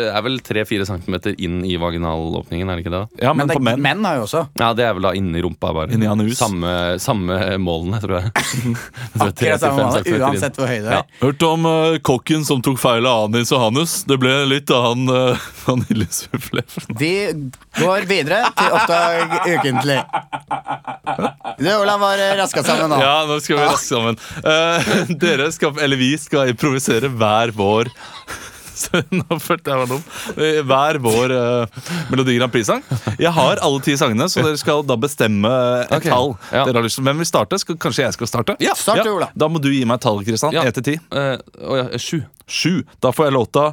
[SPEAKER 2] er vel 3-4 centimeter inn i vaginalåpningen, er det ikke det? da?
[SPEAKER 1] Ja, men,
[SPEAKER 3] Men det,
[SPEAKER 1] på menn.
[SPEAKER 3] menn har jo også.
[SPEAKER 2] Ja, det er vel da inni rumpa, bare.
[SPEAKER 1] Inni anus.
[SPEAKER 2] Samme, samme målene, tror
[SPEAKER 3] <laughs>
[SPEAKER 2] jeg. Så tre til
[SPEAKER 3] Akkurat
[SPEAKER 2] fem
[SPEAKER 3] samme måte,
[SPEAKER 2] centimeter inn.
[SPEAKER 3] uansett hvor høy det
[SPEAKER 2] Ja.
[SPEAKER 3] er.
[SPEAKER 1] Hørte om eh, kokken som tok feil av anis og hanus. Det ble litt av han <laughs> uh, vaniljesufflé.
[SPEAKER 3] Vi går videre til Oppdag ukentlig. Du, Olav, var raska sammen nå.
[SPEAKER 1] Ja, nå skal vi raskt sammen. Eh, <laughs> dere skal, eller vi skal improvisere hver vår <laughs> Så Nå følte jeg meg dum. Eh, Hver vår uh, Melodi Grand Prix-sang. Jeg har alle ti sangene, så dere skal da bestemme et
[SPEAKER 2] Ok,
[SPEAKER 1] tall.
[SPEAKER 2] ja.
[SPEAKER 1] Dere har lyst til Hvem vil starte? Skal, kanskje jeg skal starte?
[SPEAKER 2] Ja,
[SPEAKER 3] start du, Ola.
[SPEAKER 1] Da må du gi meg tallet, Kristian.
[SPEAKER 2] Ja.
[SPEAKER 1] Én til ti.
[SPEAKER 2] Eh, Å ja, sju.
[SPEAKER 1] Sju. Da får jeg låta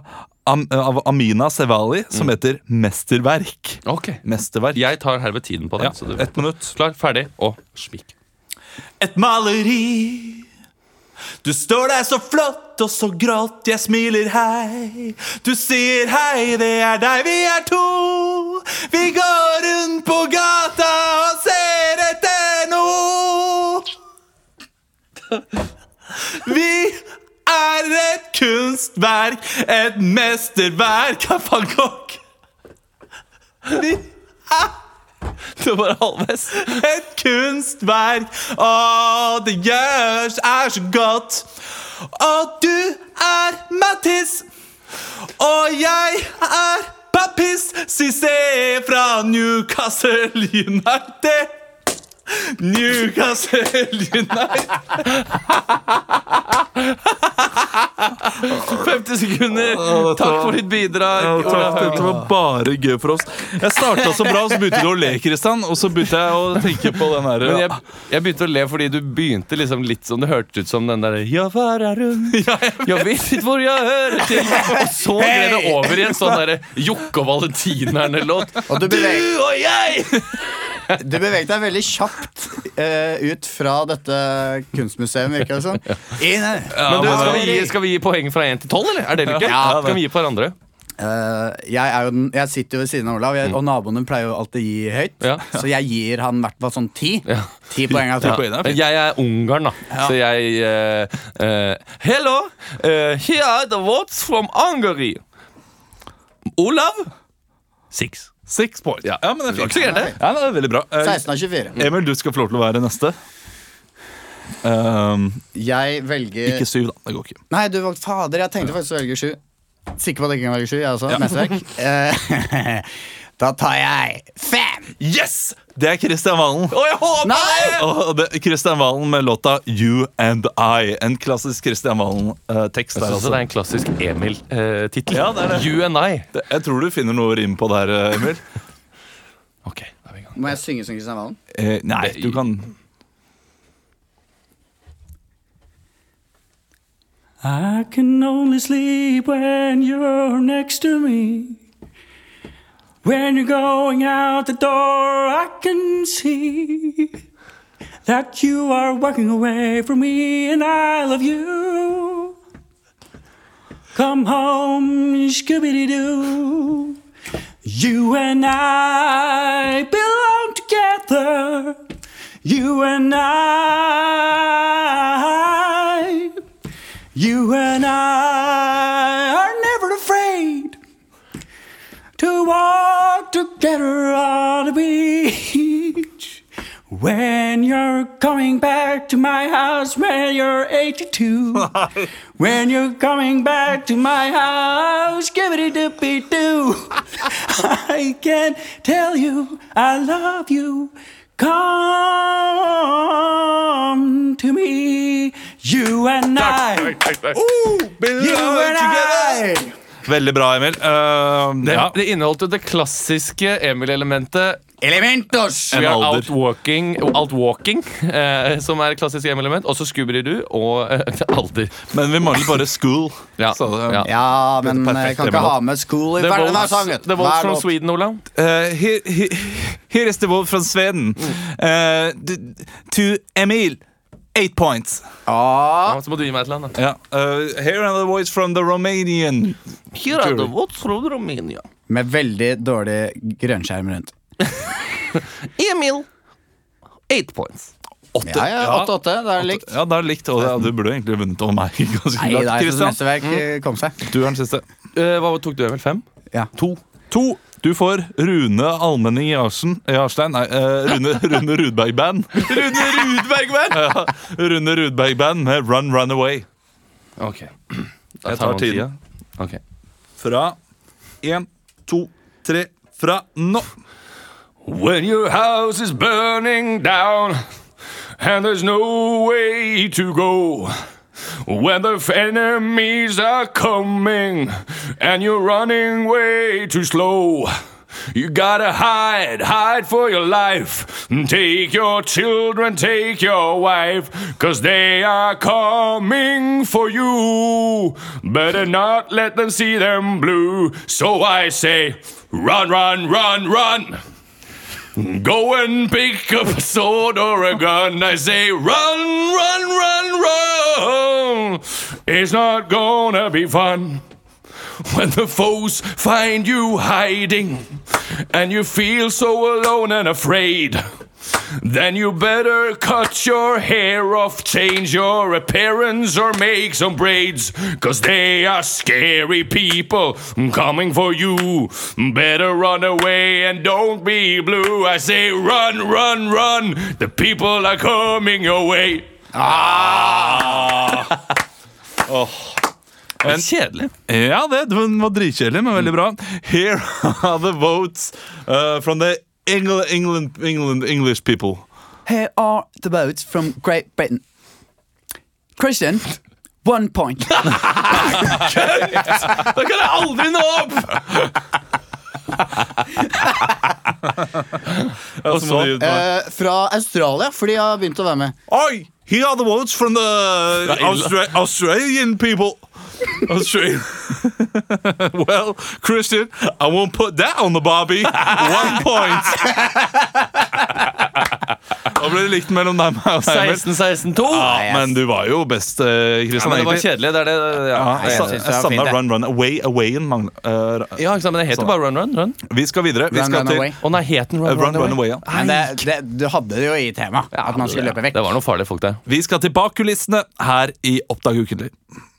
[SPEAKER 1] Am av Amina Sevali som
[SPEAKER 2] Mm.
[SPEAKER 1] heter Mesterverk.
[SPEAKER 2] Ok.
[SPEAKER 1] Mesterverk.
[SPEAKER 2] Jeg tar herved tiden på den.
[SPEAKER 1] Ja,
[SPEAKER 2] så du-
[SPEAKER 1] ett minutt.
[SPEAKER 2] Klar, ferdig og smikk.
[SPEAKER 1] et maleri. Du står der så flott og så grått, jeg smiler hei. Du sier hei, det er deg, vi er to. Vi går rundt på gata og ser etter noe. Vi er et kunstverk, et mesterverk av van Gogh. Vi <laughs> det var halvveis. Et kunstverk, og det gjørs er så godt. Og du er Mattis, og jeg er Pappis. Cissé fra Newcastle United. Newcastle United <laughs>
[SPEAKER 2] 50 sekunder! Takk for ditt bidrag.
[SPEAKER 1] Dette var bare gøy for oss. Jeg starta så bra, så begynte du å le, Kristian. Og så begynte jeg å tenke på den her
[SPEAKER 2] Men jeg, jeg begynte å le fordi du begynte liksom litt som det hørtes ut som den derre Ja, hvor er hun?
[SPEAKER 1] <laughs>
[SPEAKER 2] Jeg vet ikke hvor jeg hører til. Og så gled det over i en sånn derre Jokke og Valentinerne-låt.
[SPEAKER 3] Og du
[SPEAKER 2] Du
[SPEAKER 3] beveget,
[SPEAKER 2] og jeg!
[SPEAKER 3] du beveget deg veldig kjapt eh, ut fra dette kunstmuseet, virker det som. Inn her.
[SPEAKER 2] Men du,
[SPEAKER 3] men-
[SPEAKER 2] skal, vi gi, skal vi gi poeng fra 1 til 12, eller? Er det lykke?
[SPEAKER 1] Ja,
[SPEAKER 2] kan vi gi på hverandre?
[SPEAKER 3] Eh, jeg, er jo den, jeg sitter jo ved siden av Olav, jeg, og naboen min pleier jo alltid å gi høyt.
[SPEAKER 2] Mm. Ja.
[SPEAKER 3] Så jeg gir han i hvert fall sånn ti.
[SPEAKER 2] Ja.
[SPEAKER 3] Ti poeng av
[SPEAKER 1] poeng.
[SPEAKER 3] to.
[SPEAKER 1] er
[SPEAKER 2] Men Jeg er Ungarn, da. Så jeg eh, eh, Hello! eh, here are the votes from Hungary. Olav? Six.
[SPEAKER 1] Six points. Ja, men det er
[SPEAKER 2] Ikke så gærent, det.
[SPEAKER 1] Ja, det er veldig bra. Eh,
[SPEAKER 3] 16 av 24.
[SPEAKER 1] Emil, du skal få lov til å være neste. Ehm,
[SPEAKER 3] Jeg velger
[SPEAKER 1] ikke syv, da. Det går ikke.
[SPEAKER 3] Nei, du valgte fader. Jeg tenkte faktisk å velge sju. Sikker på at jeg ikke kan velge sju, jeg også. Mesterverk. <laughs> Eh, <laughs> da tar jeg fem!
[SPEAKER 1] Yes! Det er Kristian Valen.
[SPEAKER 2] Å, jeg håper det!
[SPEAKER 1] Og det er Kristian Valen med låta You and I. En klassisk Kristian Valen-tekst.
[SPEAKER 2] Jeg
[SPEAKER 1] der
[SPEAKER 2] synes det
[SPEAKER 1] altså.
[SPEAKER 2] er en klassisk eh, Emil-tittel.
[SPEAKER 1] Ja, det er det.
[SPEAKER 2] You and I.
[SPEAKER 1] Det- Jeg tror du finner noe rim på der, eh, <laughs> Emil.
[SPEAKER 2] Ok, da er vi i gang.
[SPEAKER 3] Må jeg synge som Kristian Valen?
[SPEAKER 1] Eh, nei, du kan
[SPEAKER 6] I can only sleep when you're next to me. When you're going out the door, I can see that you are walking away from me, and I love you. Come home, Scooby Doo. You and I belong together. You and I. You and I are never afraid to walk together on the beach. When you're coming back to my house when you're 82. when you're coming back to my house, give it a dippy do. I can tell you I love you. Come to me, you and I. You and I
[SPEAKER 1] Veldig bra, Emil. Eh,
[SPEAKER 2] Det,
[SPEAKER 1] ja.
[SPEAKER 2] det inneholdt jo det klassiske Emil-elementet.
[SPEAKER 3] Elementos!
[SPEAKER 2] We are
[SPEAKER 1] alder.
[SPEAKER 2] outwalking, outwalking eh, som er et klassisk Emil-element. Og så Scooby-Doo og eh, <laughs> alder.
[SPEAKER 1] Men vi mangler bare school.
[SPEAKER 2] Ja.
[SPEAKER 1] Så, eh,
[SPEAKER 2] Ja.
[SPEAKER 3] Ja, men
[SPEAKER 1] Perfekt,
[SPEAKER 3] jeg kan
[SPEAKER 1] Emil.
[SPEAKER 3] ikke ha med school i
[SPEAKER 2] The
[SPEAKER 3] hver hver
[SPEAKER 2] Wolves,
[SPEAKER 3] sang. vet du.
[SPEAKER 2] the Wolves
[SPEAKER 3] Hver
[SPEAKER 2] from
[SPEAKER 3] låt.
[SPEAKER 2] Sweden, Olav.
[SPEAKER 1] Eh, here, here, here is the word from Sweden.
[SPEAKER 3] Mm.
[SPEAKER 1] Eh, d- to Emil, eight points.
[SPEAKER 3] Ja.
[SPEAKER 2] Ja, så må du gi meg et eller annet. da.
[SPEAKER 1] Ja. eh, here are the voice from the Romanian.
[SPEAKER 2] Here are the votes from Romania.
[SPEAKER 3] Med veldig dårlig grønnskjerm rundt.
[SPEAKER 2] Emil. Eight points.
[SPEAKER 3] Ja, ja, 8-8. Det er likt.
[SPEAKER 1] Ja, da er det likt. Og ja, du burde egentlig vunnet over meg. <laughs> ganske
[SPEAKER 3] Nei,
[SPEAKER 1] klart.
[SPEAKER 3] det er
[SPEAKER 1] Christian,
[SPEAKER 2] Mm.
[SPEAKER 3] semesterverk eh, kom seg.
[SPEAKER 1] du er den siste.
[SPEAKER 2] Eh, hva tok du, Emil? Fem?
[SPEAKER 3] Ja.
[SPEAKER 1] To. To. Du får Rune Almenning Jarsen Jarstein, nei, eh, Rune, <laughs> Rune Rudberg Band. Rune Rudberg Band! ja, Rune Rudberg Band med Run Run Away.
[SPEAKER 2] Ok.
[SPEAKER 1] Jeg tar tida. Fra én, to, tre, fra nå.
[SPEAKER 7] When your house is burning down and there's no way to go. When the f- enemies are coming and you're running way too slow. You gotta hide, hide for your life. Take your children, take your wife, cause they are coming for you. Better not let them see them blue. So I say, run, run, run, run. Go and pick up a sword or a gun. I say, run, run, run, run. It's not gonna be fun when the foes find you hiding and you feel so alone and afraid. Then you better cut your hair off, change your appearance, or make some braids. Cause they are scary people coming for you. Better run away and don't be blue. I say, run, run, run. The people are coming your way.
[SPEAKER 2] Kjedelig.
[SPEAKER 1] Ja, det den var dritkjedelig, men veldig bra. Here are the votes uh, from the Engl- England, England, English people.
[SPEAKER 3] Here are the votes from Great Britain. Christian, one point.
[SPEAKER 2] Da kan jeg aldri nå opp! <laughs>
[SPEAKER 1] Og så
[SPEAKER 3] <laughs> Eh, fra Australia, for de har begynt å være med.
[SPEAKER 1] Oi! Here are the votes from the Austra- Australian people. <laughs> Australian. well, Christian, I won't put that on the Barbie. One <laughs> point. da ble det likt mellom deg og meg. Emil.
[SPEAKER 2] 16, 16, 2.
[SPEAKER 1] Ja, men du var jo best, eh,
[SPEAKER 2] Ja,
[SPEAKER 1] Christian.
[SPEAKER 2] men det var
[SPEAKER 1] egentlig.
[SPEAKER 2] kjedelig. Det er det, ja.
[SPEAKER 1] Ja,
[SPEAKER 2] jeg
[SPEAKER 1] jeg
[SPEAKER 2] er
[SPEAKER 1] sa- jeg
[SPEAKER 2] enig.
[SPEAKER 3] det var fint,
[SPEAKER 1] savna
[SPEAKER 3] det.
[SPEAKER 1] Run Run Away. Awayen mangler. eh,
[SPEAKER 2] ja, ikke sant, men det heter
[SPEAKER 1] Så-
[SPEAKER 2] bare Run Run Run.
[SPEAKER 1] vi skal videre. Vi
[SPEAKER 3] Run,
[SPEAKER 1] skal
[SPEAKER 3] Run
[SPEAKER 1] til
[SPEAKER 3] Away.
[SPEAKER 2] Å nei, het den
[SPEAKER 1] eh,
[SPEAKER 2] Run Run,
[SPEAKER 1] Run Run Away. Ja.
[SPEAKER 3] Men det, det, du hadde det jo i temaet. at man skulle løpe vekk.
[SPEAKER 2] Det var noen farlige folk der.
[SPEAKER 1] Vi skal til bak kulissene her i Oppdag ukentlig.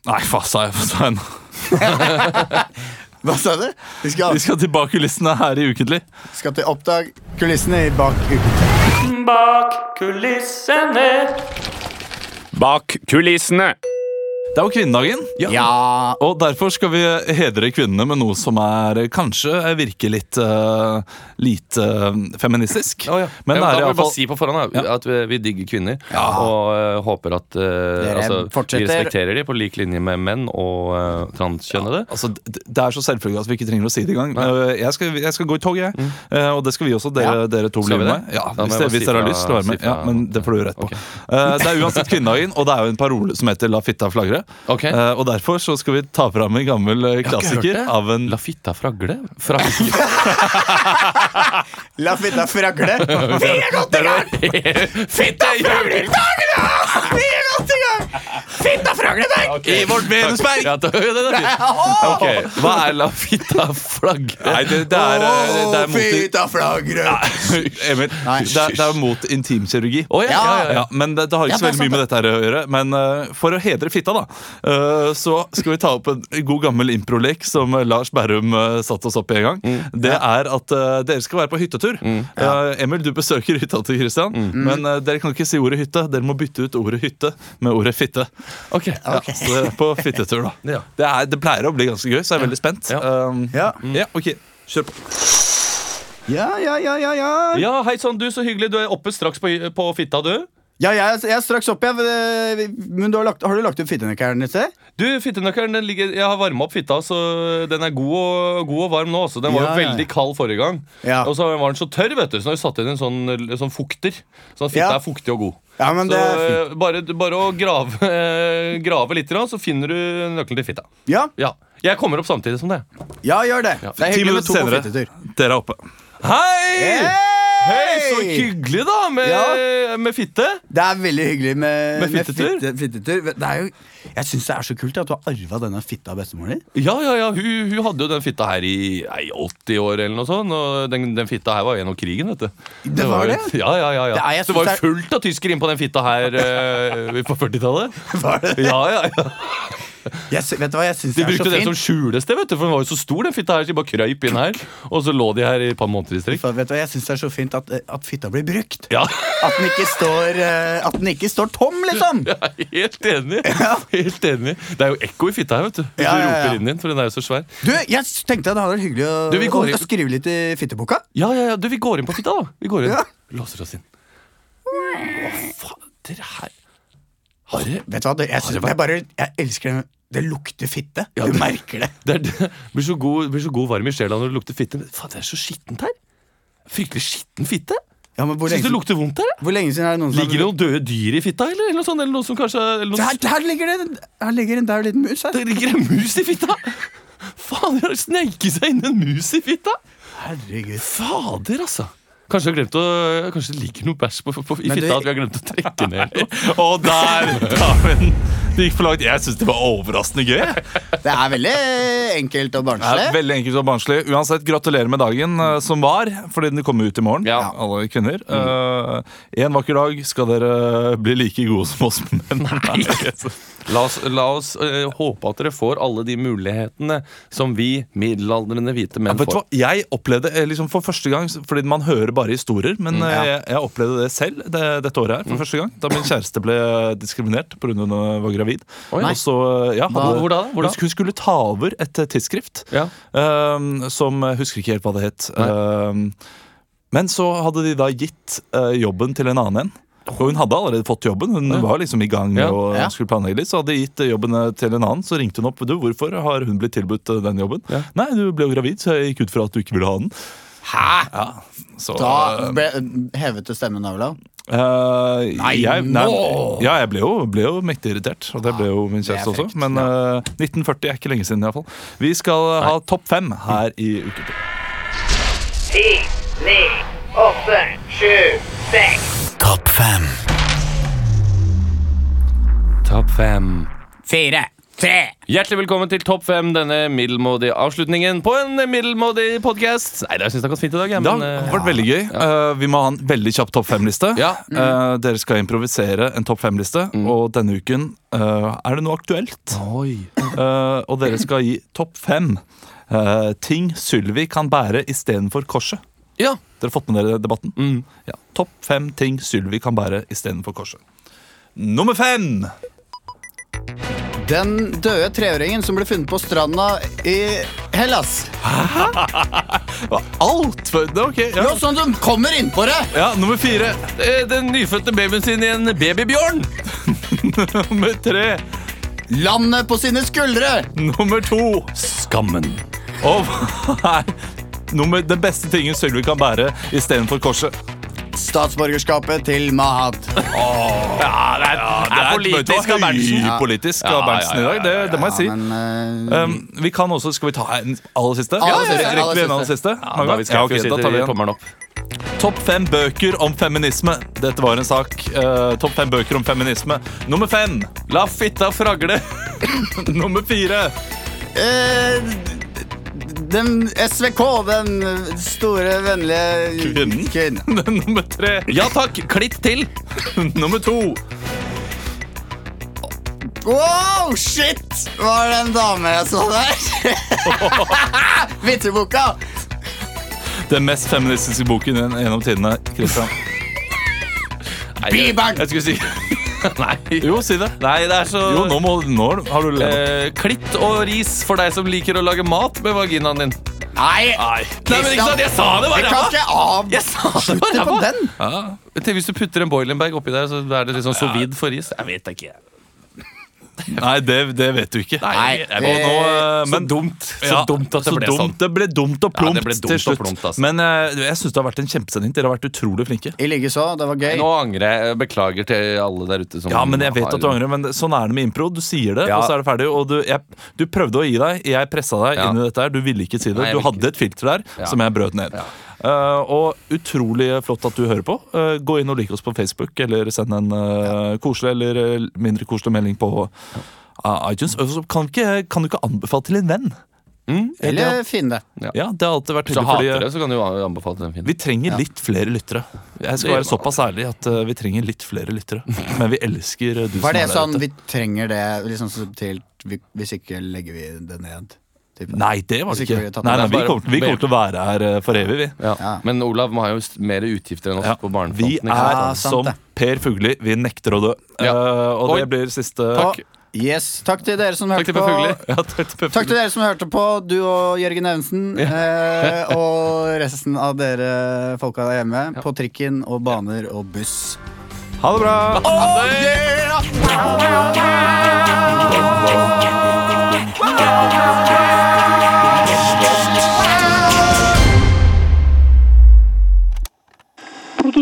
[SPEAKER 1] Nei, hva sa jeg? Hva sa jeg nå?
[SPEAKER 3] Hva sa du? Vi skal,
[SPEAKER 1] Vi skal til bak kulissene her i Ukentlig.
[SPEAKER 3] skal til Oppdag kulissene i bak uken.
[SPEAKER 8] Bak kulissene.
[SPEAKER 7] Bak kulissene.
[SPEAKER 1] Det er jo kvinnedagen,
[SPEAKER 3] Ja,
[SPEAKER 1] og derfor skal vi hedre kvinnene med noe som er eh, kanskje virker litt eh, lite eh, feministisk. Men
[SPEAKER 2] Men
[SPEAKER 1] det
[SPEAKER 2] da
[SPEAKER 1] er
[SPEAKER 2] må vi bare
[SPEAKER 1] iallfall
[SPEAKER 2] si på forhånd da, at eh, vi, vi digger kvinner. Og øh, håper at øh,
[SPEAKER 3] Dere
[SPEAKER 2] altså, vi
[SPEAKER 3] fortsetter.
[SPEAKER 2] respekterer dem på lik linje med menn og øh, transkjønnede.
[SPEAKER 1] Altså, d- det er så selvfølgelig at vi ikke trenger å si det engang. Eh, Jeg skal, jeg skal gå i tog, jeg. Eh, Og det skal vi også. Dere, dere to
[SPEAKER 2] Mm. Skal
[SPEAKER 1] blir
[SPEAKER 2] vi
[SPEAKER 1] med.
[SPEAKER 2] det?
[SPEAKER 1] Ja,
[SPEAKER 2] Da må
[SPEAKER 1] hvis
[SPEAKER 2] jeg
[SPEAKER 1] dere, hvis
[SPEAKER 2] bare si
[SPEAKER 1] dere har
[SPEAKER 2] fra-
[SPEAKER 1] lyst til å være med.
[SPEAKER 2] si
[SPEAKER 1] Ja,
[SPEAKER 2] fra-
[SPEAKER 1] men det får du rett på. Eh, Det er uansett kvinnedagen, og det er jo en parole som heter 'La fitta flagre'.
[SPEAKER 2] Ok.
[SPEAKER 1] Eh, Og derfor så skal vi ta fram en gammel eh, klassiker
[SPEAKER 2] det.
[SPEAKER 1] av en
[SPEAKER 2] La fitta fragle? <laughs> Fragle?
[SPEAKER 3] La fitta fragle. <laughs> Vi er godt i <laughs> gang!
[SPEAKER 2] fitta hjul!
[SPEAKER 3] Vi er godt i gang! Fitta fragle deg!
[SPEAKER 1] I vårt Venusberg!
[SPEAKER 2] Ja, <laughs> det, det, det,
[SPEAKER 3] Åh,
[SPEAKER 2] Ok, Hva er la fitta fragle?
[SPEAKER 1] Nei, det, det er, eh, det er mot
[SPEAKER 3] fitta flagre!
[SPEAKER 1] <laughs> Emil, det, er- det er mot intimkirurgi.
[SPEAKER 2] Å, ja, ja, ja, ja.
[SPEAKER 1] Ja, men det, det har ikke
[SPEAKER 3] Ja,
[SPEAKER 1] så
[SPEAKER 3] det er
[SPEAKER 1] veldig mye
[SPEAKER 3] sant,
[SPEAKER 1] med dette her å gjøre. Men eh, for å hedre fitta, da, eh, så skal vi ta opp en god gammel improlek som eh, Lars Berrum uh, satte oss opp i en gang.
[SPEAKER 3] Mm.
[SPEAKER 1] Det er at eh, dere skal være på hyttetur. Eh, Emil, du besøker hytta til Christian,
[SPEAKER 3] Mm.
[SPEAKER 1] men eh, dere kan ikke si ordet hytte. Dere må bytte ut ordet hytte med ordet fitte.
[SPEAKER 2] Ok,
[SPEAKER 1] Ja, så dere er på fittetur, da.
[SPEAKER 2] <laughs> Ja.
[SPEAKER 1] Det, er, det pleier å bli ganske gøy, så jeg er veldig spent.
[SPEAKER 2] Ja.
[SPEAKER 1] Um,
[SPEAKER 3] Ja.
[SPEAKER 1] ja, ok, kjør på.
[SPEAKER 3] Ja, ja, ja, ja, ja.
[SPEAKER 2] Ja, hei sann, du, så hyggelig. Du er oppe straks på, på fitta, du.
[SPEAKER 3] Ja, jeg, jeg er straks oppe, jeg. Men du har, lagt, har du lagt ut fittenøkkelen et sted?
[SPEAKER 2] Du, fittenøkkelen, den ligger Jeg har varma opp fitta, så den er god og, god og varm nå. Så den var
[SPEAKER 3] Ja,
[SPEAKER 2] jo
[SPEAKER 3] ja.
[SPEAKER 2] veldig kald forrige gang.
[SPEAKER 3] Ja.
[SPEAKER 2] Og så var den så tørr, vet du. Så nå har vi satt inn en sånn, sånn fukter. Så fitta
[SPEAKER 3] Ja.
[SPEAKER 2] er fuktig og god.
[SPEAKER 3] Ja, men
[SPEAKER 2] Så
[SPEAKER 3] det er fint.
[SPEAKER 2] eh, bare, bare å grave, eh, grave litt, grann, så finner du nøkkelen til fitta.
[SPEAKER 3] Ja,
[SPEAKER 2] Ja. Jeg kommer opp samtidig som det.
[SPEAKER 3] ja gjør det. Det er
[SPEAKER 1] Ti
[SPEAKER 3] hyggelig med
[SPEAKER 1] minutter
[SPEAKER 3] to på
[SPEAKER 1] senere.
[SPEAKER 3] fittetur.
[SPEAKER 1] Dere er oppe.
[SPEAKER 2] Hei! Hei, Så
[SPEAKER 3] Hei!
[SPEAKER 2] hyggelig, da, med, med fitte.
[SPEAKER 3] Det er veldig hyggelig med,
[SPEAKER 2] Med fittetur?
[SPEAKER 3] fitte- fittetur. Det er jo, jeg syns det er så kult at du har arva denne fitta av
[SPEAKER 2] <laughs>
[SPEAKER 3] bestemor di.
[SPEAKER 2] Ja, ja, ja, hun, hun hadde jo den fitta her i nei, 80 år eller noe sånt. Og den, den fitta her var jo gjennom krigen, vet du.
[SPEAKER 3] Det var
[SPEAKER 2] jo-
[SPEAKER 3] det?
[SPEAKER 2] Ja, ja, ja, ja.
[SPEAKER 3] Det er- jeg
[SPEAKER 2] Det var jo
[SPEAKER 3] synes det
[SPEAKER 2] fullt av tyskere inn på den fitta her eh, på 40-tallet.
[SPEAKER 3] Var det det?
[SPEAKER 2] Ja, ja, ja.
[SPEAKER 3] Jeg sy- Vet du hva, jeg syns
[SPEAKER 2] De
[SPEAKER 3] det er så
[SPEAKER 2] brukte det som
[SPEAKER 3] fint.
[SPEAKER 2] skjulested, vet du, for den var jo så stor, den fitta her. Så de bare krøyp inn her, og så lå de her i et par måneder i strekk.
[SPEAKER 3] For Vet du hva, jeg synes det er så fint at, eh, at fitta blir brukt.
[SPEAKER 2] Ja, <laughs>
[SPEAKER 3] At den ikke står, eh, at den ikke står tom, liksom!
[SPEAKER 2] helt enig. Helt enig. Det er jo ekko i fitta her, vet du. Hvis
[SPEAKER 3] Ja,
[SPEAKER 2] du
[SPEAKER 3] ja, ja.
[SPEAKER 2] roper inn din, for den er jo så svær.
[SPEAKER 3] Du, jeg s- tenkte at det hadde vært hyggelig å,
[SPEAKER 2] Du, vi går
[SPEAKER 3] å-
[SPEAKER 2] i-
[SPEAKER 3] å skrive litt i fitteboka.
[SPEAKER 2] Ja, ja, ja, du, vi går inn på fitta, da. Vi går inn.
[SPEAKER 3] Ja.
[SPEAKER 2] Låser oss inn. Å, faen, dere her Har dere
[SPEAKER 3] Vet du hva, det, jeg, synes, det er bare, jeg elsker det. Det lukter fitte. Du merker det.
[SPEAKER 2] det er, det blir, så god, blir så god varm i sjela når det lukter fitte. Men faen, det er så skittent her. Fryktelig skitten fitte.
[SPEAKER 3] Ja, men hvor,
[SPEAKER 2] Syns
[SPEAKER 3] lenge,
[SPEAKER 2] det lukter vondt her? jeg.
[SPEAKER 3] hvor lenge siden er det noen
[SPEAKER 2] Ligger det
[SPEAKER 3] som
[SPEAKER 2] noen døde dyr i fitta, eller? Eller noe sånt? Eller noe som kanskje eller noe,
[SPEAKER 3] her, her ligger det Her ligger en daud liten mus her.
[SPEAKER 2] Det ligger en mus i fitta! Faen, det har sneket seg inn en mus i fitta!
[SPEAKER 3] Herregud.
[SPEAKER 2] Fader, altså. Kanskje, jeg har glemt å, kanskje det ligger noe bæsj på, på, på, i
[SPEAKER 3] Men
[SPEAKER 2] fitta
[SPEAKER 3] det-
[SPEAKER 2] at vi har glemt å trekke ned.
[SPEAKER 3] <laughs>
[SPEAKER 1] <laughs> Og der tar vi den. Det gikk for langt. Jeg syns det var overraskende gøy.
[SPEAKER 3] Det er veldig enkelt
[SPEAKER 1] Det
[SPEAKER 3] og
[SPEAKER 1] er
[SPEAKER 3] barnslig.
[SPEAKER 1] veldig enkelt og barnslig. Uansett, gratulerer med dagen eh, som var, fordi den kommer ut i morgen.
[SPEAKER 2] Ja.
[SPEAKER 1] Alle kvinner. Eh, en vakker dag skal dere eh, bli like gode som oss <laughs> menn. Nei.
[SPEAKER 2] La oss, la oss eh, håpe at dere får alle de mulighetene som vi middelaldrende hvite menn
[SPEAKER 1] Vet du
[SPEAKER 2] får.
[SPEAKER 1] hva, Jeg opplevde eh, liksom for første gang Fordi man hører bare historier, men
[SPEAKER 2] Mm,
[SPEAKER 1] eh, jeg, jeg opplevde det selv det, dette året her. For første gang Da min kjæreste ble diskriminert pga. hun var gravid.
[SPEAKER 2] Oi.
[SPEAKER 1] Og så, eh, ja,
[SPEAKER 2] Hva- hvor da, hvor da?
[SPEAKER 1] Hun skulle ta over et eh, tidsskrift
[SPEAKER 2] Ja.
[SPEAKER 1] eh, som jeg Husker ikke helt hva det het. Eh, men så hadde de da gitt eh, jobben til en annen en. Og hun hadde allerede fått jobben. Hun var liksom i gang
[SPEAKER 2] Ja.
[SPEAKER 1] og
[SPEAKER 3] Ja.
[SPEAKER 1] skulle planlegge litt. Så hadde de gitt eh, jobben eh, til en annen. Så ringte hun opp. Du, hvorfor har hun blitt tilbudt eh, den jobben?
[SPEAKER 2] Ja.
[SPEAKER 1] Nei, du ble jo gravid, så jeg gikk ut fra at du ikke ville ha den. Hæ? Ja, så
[SPEAKER 3] Da ble hevet til stemmen Olav.
[SPEAKER 1] eh,
[SPEAKER 3] Nei,
[SPEAKER 1] jeg,
[SPEAKER 3] nå!
[SPEAKER 1] Ja, jeg ble jo, ble jo mektig irritert. Og det ble jo min kjæreste
[SPEAKER 3] det er
[SPEAKER 1] også. Men eh, 1940 er ikke lenge siden, iallfall. Vi skal eh, ha topp fem her i uke.
[SPEAKER 9] Ti, ni, åtte, sju, seks.
[SPEAKER 10] Topp fem.
[SPEAKER 2] Topp fem.
[SPEAKER 9] Fire, tre,
[SPEAKER 2] Hjertelig velkommen til Topp fem, denne middelmådige avslutningen på en middelmådig podkast. Nei, jeg syns det har gått fint i dag, jeg.
[SPEAKER 1] Det
[SPEAKER 2] Men,
[SPEAKER 1] har
[SPEAKER 2] eh,
[SPEAKER 1] vært veldig gøy. Eh, vi må ha en veldig kjapp topp fem-liste.
[SPEAKER 2] Ja. Mm.
[SPEAKER 1] Eh, dere skal improvisere en topp fem-liste, og denne uken eh, er det noe aktuelt. Eh, og dere skal gi topp fem eh, ting Sylvi kan bære istedenfor korset.
[SPEAKER 2] ja. Mm.
[SPEAKER 1] Dere har fått med dere debatten? Ja. Topp fem ting Sylvi kan bære istedenfor korset. Nummer fem!
[SPEAKER 3] Den døde treåringen som ble funnet på stranda i Hellas.
[SPEAKER 1] Alt! for- det er Ok, ja.
[SPEAKER 3] Jo, sånn som kommer innpå deg!
[SPEAKER 1] ja, nummer fire. <laughs>
[SPEAKER 2] Eh, Den nyfødte babyen sin i en babybjørn.
[SPEAKER 1] Nummer tre.
[SPEAKER 3] Landet på sine skuldre!
[SPEAKER 1] Nummer to.
[SPEAKER 2] Skammen.
[SPEAKER 1] Og <laughs> hva er nummer, den beste tingen Sylvi kan bære istedenfor korset?
[SPEAKER 3] Statsborgerskapet til Mahat.
[SPEAKER 1] Det er
[SPEAKER 2] politisk av Berntsen.
[SPEAKER 1] Høypolitisk av Berntsen i dag, det, det må jeg si.
[SPEAKER 3] Men eh,
[SPEAKER 1] Um, vi kan også, Skal vi ta en aller siste?
[SPEAKER 3] Aller siste,
[SPEAKER 1] Rekker
[SPEAKER 3] aller
[SPEAKER 1] vi en aller
[SPEAKER 3] siste.
[SPEAKER 1] siste?
[SPEAKER 2] Ja, da, vi skal
[SPEAKER 1] Ja, ok, da tar vi en.
[SPEAKER 2] tommelen opp.
[SPEAKER 1] Topp fem bøker om feminisme. Dette var en sak. eh, Topp fem bøker om feminisme. Nummer fem.
[SPEAKER 2] La fitta fragle.
[SPEAKER 1] <laughs> Nummer fire. <laughs>
[SPEAKER 3] eh, den SVK, den store, vennlige
[SPEAKER 1] Kvinnen.
[SPEAKER 3] kvinnen.
[SPEAKER 1] Nummer tre.
[SPEAKER 2] Ja takk, klitt til.
[SPEAKER 1] Nummer to.
[SPEAKER 3] Wow, shit! Var det en dame jeg så der? <laughs> Vitneboka!
[SPEAKER 1] Den mest feministiske boken gjennom tidene. Christian.
[SPEAKER 2] Nei,
[SPEAKER 3] Bibelen!
[SPEAKER 2] Jeg skulle
[SPEAKER 1] <laughs>
[SPEAKER 2] si Nei.
[SPEAKER 1] Jo, si det.
[SPEAKER 2] Nei, det er så
[SPEAKER 1] Jo, nå, må, nå har du levd.
[SPEAKER 7] Eh,
[SPEAKER 2] Eh, klitt og ris for deg som liker å lage mat med vaginaen din.
[SPEAKER 3] Nei,
[SPEAKER 1] Nei.
[SPEAKER 7] Nei, men ikke sant, Jeg sa
[SPEAKER 3] jeg
[SPEAKER 7] det bare!
[SPEAKER 3] kan
[SPEAKER 7] ræva.
[SPEAKER 3] ikke av
[SPEAKER 7] Jeg sa det
[SPEAKER 3] Slutt
[SPEAKER 7] bare!
[SPEAKER 3] på
[SPEAKER 7] ræva.
[SPEAKER 3] den!
[SPEAKER 7] Til Hvis du putter en boilenberg oppi der, så er det liksom så vidt for is. Jeg vet ikke.
[SPEAKER 1] Nei, det, det vet du ikke.
[SPEAKER 7] Nei,
[SPEAKER 1] Og nå, eh,
[SPEAKER 7] så
[SPEAKER 1] men-
[SPEAKER 7] dumt. Så
[SPEAKER 1] Ja,
[SPEAKER 7] dumt at det
[SPEAKER 1] så
[SPEAKER 7] ble
[SPEAKER 1] dumt,
[SPEAKER 7] sånn.
[SPEAKER 1] Det ble dumt og
[SPEAKER 7] Ja,
[SPEAKER 1] plumpt
[SPEAKER 7] det ble
[SPEAKER 1] til
[SPEAKER 7] dumt og
[SPEAKER 1] slutt.
[SPEAKER 7] plumpt, altså.
[SPEAKER 1] Men eh, jeg syns det har vært en kjempesending. Dere har vært utrolig flinke.
[SPEAKER 3] I likeså. Det var gøy.
[SPEAKER 7] Nå angrer jeg. Beklager til alle der ute som
[SPEAKER 1] Ja, men jeg vet
[SPEAKER 7] har-
[SPEAKER 1] at du angrer, men det- sånn er det med impro. Du sier det,
[SPEAKER 7] Ja.
[SPEAKER 1] og så er det ferdig. Og du, jeg, du prøvde å gi deg, jeg pressa deg
[SPEAKER 7] Ja.
[SPEAKER 1] inn i dette her. Du ville ikke si det.
[SPEAKER 7] Nei, jeg
[SPEAKER 1] du
[SPEAKER 7] vil
[SPEAKER 1] hadde et filter der
[SPEAKER 7] Ja.
[SPEAKER 1] som jeg brøt ned.
[SPEAKER 7] Ja.
[SPEAKER 1] Eh, og utrolig flott at du hører på. Eh, gå inn og lik oss på Facebook, eller send en eh, koselig eller eh, mindre koselig melding på eh, iTunes. Og så kan, ikke, kan du ikke anbefale til en venn?
[SPEAKER 3] Eller finne det.
[SPEAKER 1] Ja, det har alltid vært
[SPEAKER 7] Så
[SPEAKER 1] hyggelig.
[SPEAKER 7] hater
[SPEAKER 1] Fordi, eh,
[SPEAKER 7] det, så kan du jo anbefale den filmen.
[SPEAKER 1] Vi trenger litt flere lyttere. Jeg skal
[SPEAKER 7] Det gjør
[SPEAKER 1] være såpass ærlig at eh, vi trenger litt flere lyttere.
[SPEAKER 7] <laughs>
[SPEAKER 1] Men vi elsker eh, du
[SPEAKER 3] Var det
[SPEAKER 1] som er der
[SPEAKER 3] sånn
[SPEAKER 1] ute.
[SPEAKER 3] vi trenger det liksom subtilt vi, Hvis ikke legger vi det ned? type?
[SPEAKER 1] Nei, det var
[SPEAKER 3] Hvis
[SPEAKER 1] det
[SPEAKER 3] ikke
[SPEAKER 1] ikke.
[SPEAKER 3] vi hadde tatt
[SPEAKER 1] Nei,
[SPEAKER 3] det.
[SPEAKER 1] nei, vi,
[SPEAKER 7] Det er bare-
[SPEAKER 1] kommer, til- vi kommer til å være her eh, for evig, vi.
[SPEAKER 7] Ja.
[SPEAKER 3] Ja.
[SPEAKER 7] Men Olav må ha jo st- mer utgifter enn oss
[SPEAKER 1] Ja.
[SPEAKER 7] på
[SPEAKER 1] Vi
[SPEAKER 7] barnefronten. ikke
[SPEAKER 1] er
[SPEAKER 3] Ja, sant
[SPEAKER 1] som
[SPEAKER 3] det.
[SPEAKER 1] Per Fugli, vi nekter å dø.
[SPEAKER 7] Ja.
[SPEAKER 1] Eh, og
[SPEAKER 7] Oi.
[SPEAKER 1] det blir siste
[SPEAKER 3] Og, yes, takk til dere som
[SPEAKER 7] Takk
[SPEAKER 3] hørte
[SPEAKER 7] til Per Fugli.
[SPEAKER 3] på.
[SPEAKER 1] <laughs> Ja, takk til Per
[SPEAKER 3] Takk
[SPEAKER 1] Fugli.
[SPEAKER 3] til dere som hørte på, du og Jørgen Evensen. Eh, og resten av dere folka der hjemme. På trikken og baner og buss.
[SPEAKER 1] Ha det bra!